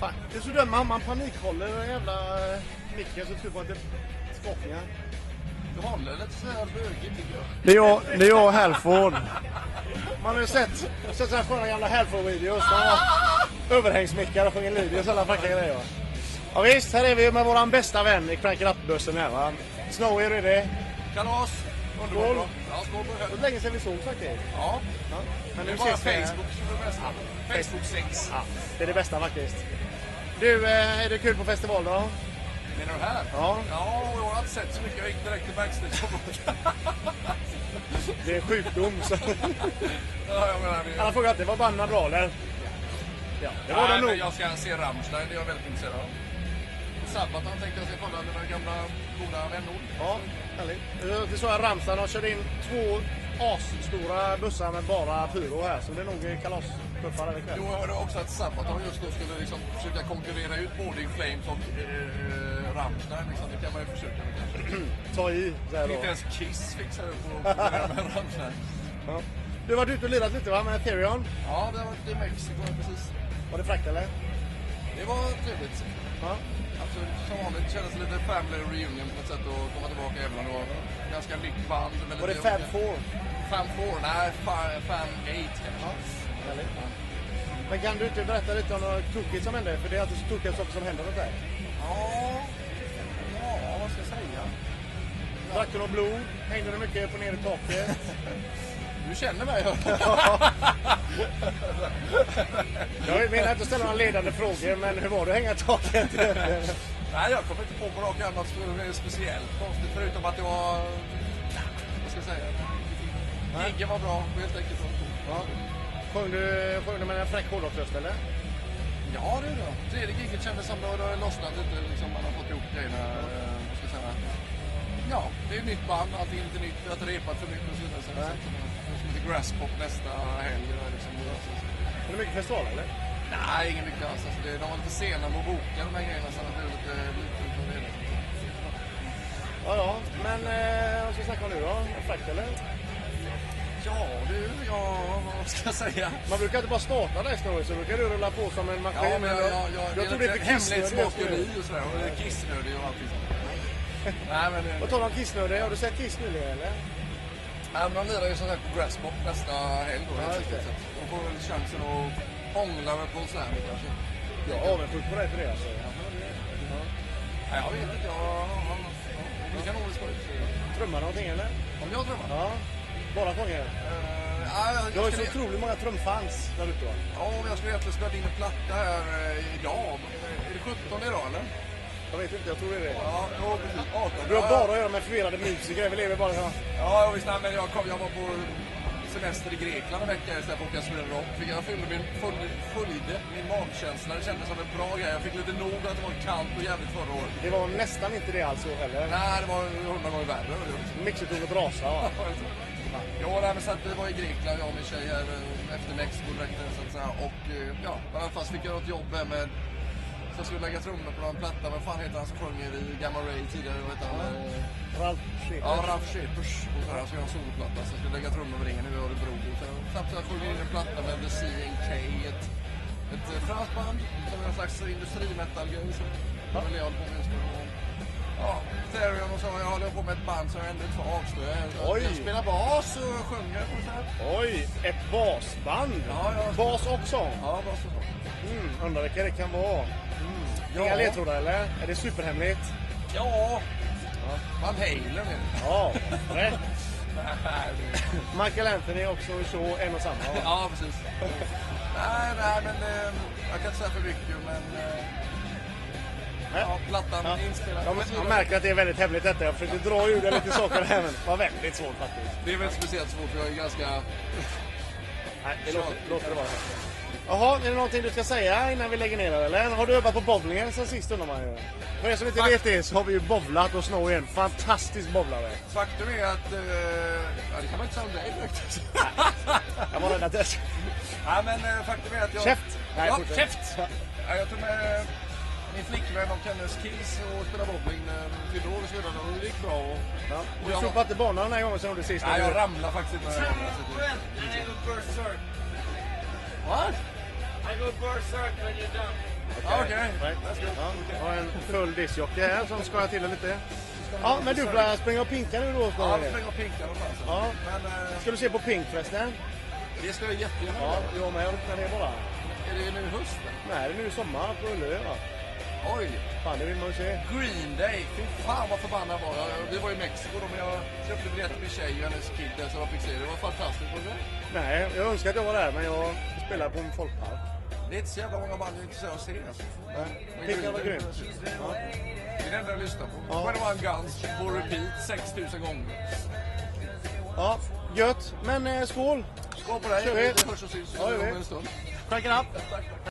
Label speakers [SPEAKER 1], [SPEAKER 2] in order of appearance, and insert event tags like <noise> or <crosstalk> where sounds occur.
[SPEAKER 1] Faktiskt så dömer han. Man panikhåller den jävla eh, micken så tror man att det är skakningar.
[SPEAKER 2] Du håller lite så här bögigt tycker jag.
[SPEAKER 3] Det är jag, det är jag Halford.
[SPEAKER 1] Man har ju sett, sett sådana sköna gamla Halford-videos. där han har Överhängsmickar och sjunger Lidius och alla vackra grejer. va. Ja, visst, här är vi med våran bästa vän i Crank It Up-bussen här va. Snowy, hur är det?
[SPEAKER 2] Kalas!
[SPEAKER 1] Underbart bra.
[SPEAKER 2] Ja, skål på
[SPEAKER 1] Det var länge sedan vi såg faktiskt.
[SPEAKER 2] Ja,
[SPEAKER 1] Ja. Men nu
[SPEAKER 2] det är bara
[SPEAKER 1] ses vi här.
[SPEAKER 2] Facebook som är bäst. Facebook 6.
[SPEAKER 1] Ja, det är det bästa faktiskt. Du, eh, är det kul på festival då?
[SPEAKER 2] Menar du här?
[SPEAKER 1] Ja.
[SPEAKER 2] Ja, jag har inte sett så mycket. Jag gick direkt till
[SPEAKER 1] <laughs>
[SPEAKER 2] backstageområdet.
[SPEAKER 1] Det är en sjukdom. Så. <laughs>
[SPEAKER 2] ja, jag menar det.
[SPEAKER 1] Alla frågar alltid, var banden bra eller? Ja, det var
[SPEAKER 2] Nej,
[SPEAKER 1] den nog.
[SPEAKER 2] men jag ska se Rammstein. Det är jag väldigt intresserad av. Sabbatan tänkte jag ska kolla mina gamla goda vänner.
[SPEAKER 1] Ja, härligt. Eh, Det såg jag Ramsan har kört in två asstora bussar med bara pyro här. Så det är nog eh, kalaspuffar här ikväll.
[SPEAKER 2] Jo, jag hörde också att Sabaton just då skulle liksom försöka konkurrera ut både In Flames och eh, Rammstein. Liksom. Det kan man ju försöka med kanske.
[SPEAKER 1] Ta i så här
[SPEAKER 2] Inte
[SPEAKER 1] då.
[SPEAKER 2] ens Kiss fixade upp och och det här <laughs> med Rammstein.
[SPEAKER 1] Ja. Du har varit ute och lirat lite va med Ethereum?
[SPEAKER 2] Ja, vi har varit i Mexiko precis.
[SPEAKER 1] Var det frakt eller?
[SPEAKER 2] Det var trevligt.
[SPEAKER 1] Ja.
[SPEAKER 2] Absolut, som vanligt kändes det lite family reunion på ett sätt att komma tillbaka även om det var ganska nytt band. men
[SPEAKER 1] Var det
[SPEAKER 2] lite
[SPEAKER 1] Fab
[SPEAKER 2] olika-
[SPEAKER 1] Four?
[SPEAKER 2] Fab Four? Nej, Fa- Fab Eight kanske.
[SPEAKER 1] Härligt. Men kan du inte berätta lite om något tokigt som hände? För det är alltid så tokiga saker som händer runt dig.
[SPEAKER 2] Ja, ja, vad ska jag säga?
[SPEAKER 1] Drack du något blod? Hängde du mycket upp och ner i taket?
[SPEAKER 2] Du känner mig. <laughs>
[SPEAKER 1] Jag menar inte att ställa några ledande frågor, men hur var det att hänga i taket? <laughs>
[SPEAKER 2] Nej, jag kommer inte på på rak arm något spe- speciellt konstigt förutom att det var... Vad ska jag säga? Giggen var bra, helt enkelt.
[SPEAKER 1] Ja. Sjöng du, sjöng du med en fräck hårdrocksröst eller?
[SPEAKER 2] Ja, det är det. Tredje giget kändes som att det har lossnat lite. Liksom, man har fått ihop grejerna. eh, Vad ska jag säga? Ja, det är ett nytt band. Allting är lite nytt. Vi har inte repat för mycket och så vidare. Så det är så- det är som lite grasspop nästa helg. och Liksom.
[SPEAKER 1] Är det mycket festival eller?
[SPEAKER 2] Nej, ingen lycka alls. Alltså, det- de var lite sena med att boka de här grejerna. Så det blev lite lite utav det.
[SPEAKER 1] Ja, ja. Men eh, vad ska vi snacka om nu då? Fräckt eller?
[SPEAKER 2] Ja, du. Ja, vad ska jag säga?
[SPEAKER 1] Man brukar inte bara starta där Snorri, så brukar du rulla på som en maskin.
[SPEAKER 2] Ja, men jag, jag, jag,
[SPEAKER 1] jag tror det är för kissnödig jag skulle
[SPEAKER 2] hemlighetsmakeri
[SPEAKER 1] göra.
[SPEAKER 2] och sådär. Och kissnödig och allting sånt. Nej, men... eh,
[SPEAKER 1] På tal om kissnödig, har du sett Kiss nyligen eller?
[SPEAKER 2] Ja, men de lirar ju som sagt på Grasspop nästa helg då.
[SPEAKER 1] Ja,
[SPEAKER 2] helt
[SPEAKER 1] just det.
[SPEAKER 2] enkelt. Så De får väl chansen att hångla med Paul Stanley kanske.
[SPEAKER 1] Jag är avundsjuk på dig för det alltså.
[SPEAKER 2] Nej, jag vet inte. Jag, jag, jag, det kan nog bli skoj.
[SPEAKER 1] Trummar någonting eller?
[SPEAKER 2] Om jag trummar?
[SPEAKER 1] Ja. Bara sjunger?
[SPEAKER 2] Eh, ja, jag,
[SPEAKER 1] Du har
[SPEAKER 2] jag,
[SPEAKER 1] ju så
[SPEAKER 2] skulle,
[SPEAKER 1] otroligt många trumfans där ute va?
[SPEAKER 2] ja, men jag skulle egentligen spela in en platta här eh, idag. Är det 17 idag eller?
[SPEAKER 1] Jag vet inte, jag tror det är det.
[SPEAKER 2] Ja, jo, precis. 18.
[SPEAKER 1] Du har bara att göra med förvirrade musiker, vi lever bara så.
[SPEAKER 2] Ja, visst. Nej, men jag, kom, jag var på semester i Grekland en vecka istället för att åka Sweden Rock. Fick- Jag fyllde min, följde, följde min magkänsla. Det kändes som en bra grej. Jag fick lite nog att det var kallt och jävligt förra året.
[SPEAKER 1] Det var nästan inte det alls så heller.
[SPEAKER 2] Nej, det var hundra gånger värre.
[SPEAKER 1] Mixertornet rasade va?
[SPEAKER 2] Ja, nej, men så att vi var i Grekland, jag och min tjej här eh, efter Mexiko direkt så att säga. Och eh, ja, i alla fall fick jag något jobb här med... Så jag skulle lägga trummor på någon platta. Vad fan heter han som sjunger i Gamma Ray tidigare? Vad heter han? Eh,
[SPEAKER 1] Ralf Schäfer.
[SPEAKER 2] Ja, Ralf Schepers. Och så här, så jag har en soloplatta. Så jag skulle lägga trummor med ringen nu i Örebro. Och så Snabbt så jag sjunger in en platta med The C&K. Ett, ett eh, franskt band som är en slags industrimetal-grej. Så det vill jag hålla på med just nu. Ja, Therion och så. Jag håller på med ett band som jag ändå inte får avslöja.
[SPEAKER 1] Oj.
[SPEAKER 2] Jag spelar bas och sjunger på så här.
[SPEAKER 1] Oj, ett basband!
[SPEAKER 2] Ja, ja.
[SPEAKER 1] Bas och sång.
[SPEAKER 2] Ja, bas och så.
[SPEAKER 1] Mm, undrar vilka det kan vara.
[SPEAKER 2] Mm, Ja.
[SPEAKER 1] Inga ledtrådar eller? Är det superhemligt?
[SPEAKER 2] Ja! Van Halen är det.
[SPEAKER 1] Ja,
[SPEAKER 2] <laughs>
[SPEAKER 1] rätt. Michael Anthony är också så en och samma. va?
[SPEAKER 2] Ja, precis. nej, nej, men eh, jag kan inte säga för mycket, men... Eh, ja, plattan
[SPEAKER 1] Ja.
[SPEAKER 2] är inspelad.
[SPEAKER 1] Jag, jag märker att det är väldigt hemligt detta. Jag försökte dra ur det lite saker här men det var väldigt svårt faktiskt.
[SPEAKER 2] Det är väl speciellt svårt, för jag är ganska...
[SPEAKER 1] Nej, det låter, låter det vara. Jaha, är det någonting du ska säga innan vi lägger ner det, eller? Har du övat på bowlingen sen sist undrar man ju. För er som inte
[SPEAKER 2] Tack.
[SPEAKER 1] vet det så har vi ju bowlat och Snowy är en fantastisk bowlare.
[SPEAKER 2] Faktum är att... Eh, ja, det kan man inte säga om dig direkt.
[SPEAKER 1] Jag var rädd att det...
[SPEAKER 2] Nej, men eh, faktum är att jag...
[SPEAKER 1] Käft! Nej,
[SPEAKER 2] <laughs> ja,
[SPEAKER 1] fortsätt.
[SPEAKER 2] käft! Ja, jag tog med eh, min flickvän och hennes kills och spelade bowling när hon fyllde år och så vidare. Och det gick bra. Och,
[SPEAKER 1] Ja.
[SPEAKER 2] och
[SPEAKER 1] Du
[SPEAKER 2] jag,
[SPEAKER 1] sopade inte banan den här gången som du gjorde sist.
[SPEAKER 2] nej, jag ramlade faktiskt inte. när jag var där, så det-
[SPEAKER 4] I go berserk.
[SPEAKER 2] What?
[SPEAKER 4] I go berserk when you're done.
[SPEAKER 2] Ja, okej.
[SPEAKER 1] Nej. Ja, har en full diskjocke här som skojar till det lite. Ja, men du får springa och pinka nu då.
[SPEAKER 2] Ja,
[SPEAKER 1] snart.
[SPEAKER 2] vi slänger och pinkar och chansen.
[SPEAKER 1] Ja.
[SPEAKER 2] Men eh,
[SPEAKER 1] Ska du se på Pink förresten?
[SPEAKER 2] det ska jag jättegärna
[SPEAKER 1] Ja,
[SPEAKER 2] göra.
[SPEAKER 1] jag med. Jag ruttnar ner bara.
[SPEAKER 2] Är det nu höst?
[SPEAKER 1] Nej, det är nu sommar på Ullö. va?
[SPEAKER 2] Oj!
[SPEAKER 1] Fan, det vill man ju se.
[SPEAKER 2] Green Day, fy fan vad förbannad var jag. Vi var i Mexiko då, men jag köpte biljetter med tjej och hennes kid där som jag fick se. Det var fantastiskt. Var det? inte?
[SPEAKER 1] Nej, jag önskar att jag var där, men jag spelar på en folkpark.
[SPEAKER 2] det är inte så jävla många band jag är intresserad av att se. Alltså. Men
[SPEAKER 1] Pink
[SPEAKER 2] Green
[SPEAKER 1] var
[SPEAKER 2] Day-
[SPEAKER 1] grym. Ja.
[SPEAKER 2] Det är det enda jag lyssnar på.
[SPEAKER 1] Ja.
[SPEAKER 2] When One Guns på repeat 6000 gånger.
[SPEAKER 1] ja, gött. Men eh, skål!
[SPEAKER 2] Skål på dig.
[SPEAKER 1] Kör vi.
[SPEAKER 2] Vi hörs och syns
[SPEAKER 1] Ja, det gör vi.
[SPEAKER 2] om en stund.
[SPEAKER 1] Crank it up!
[SPEAKER 2] Tack, tack.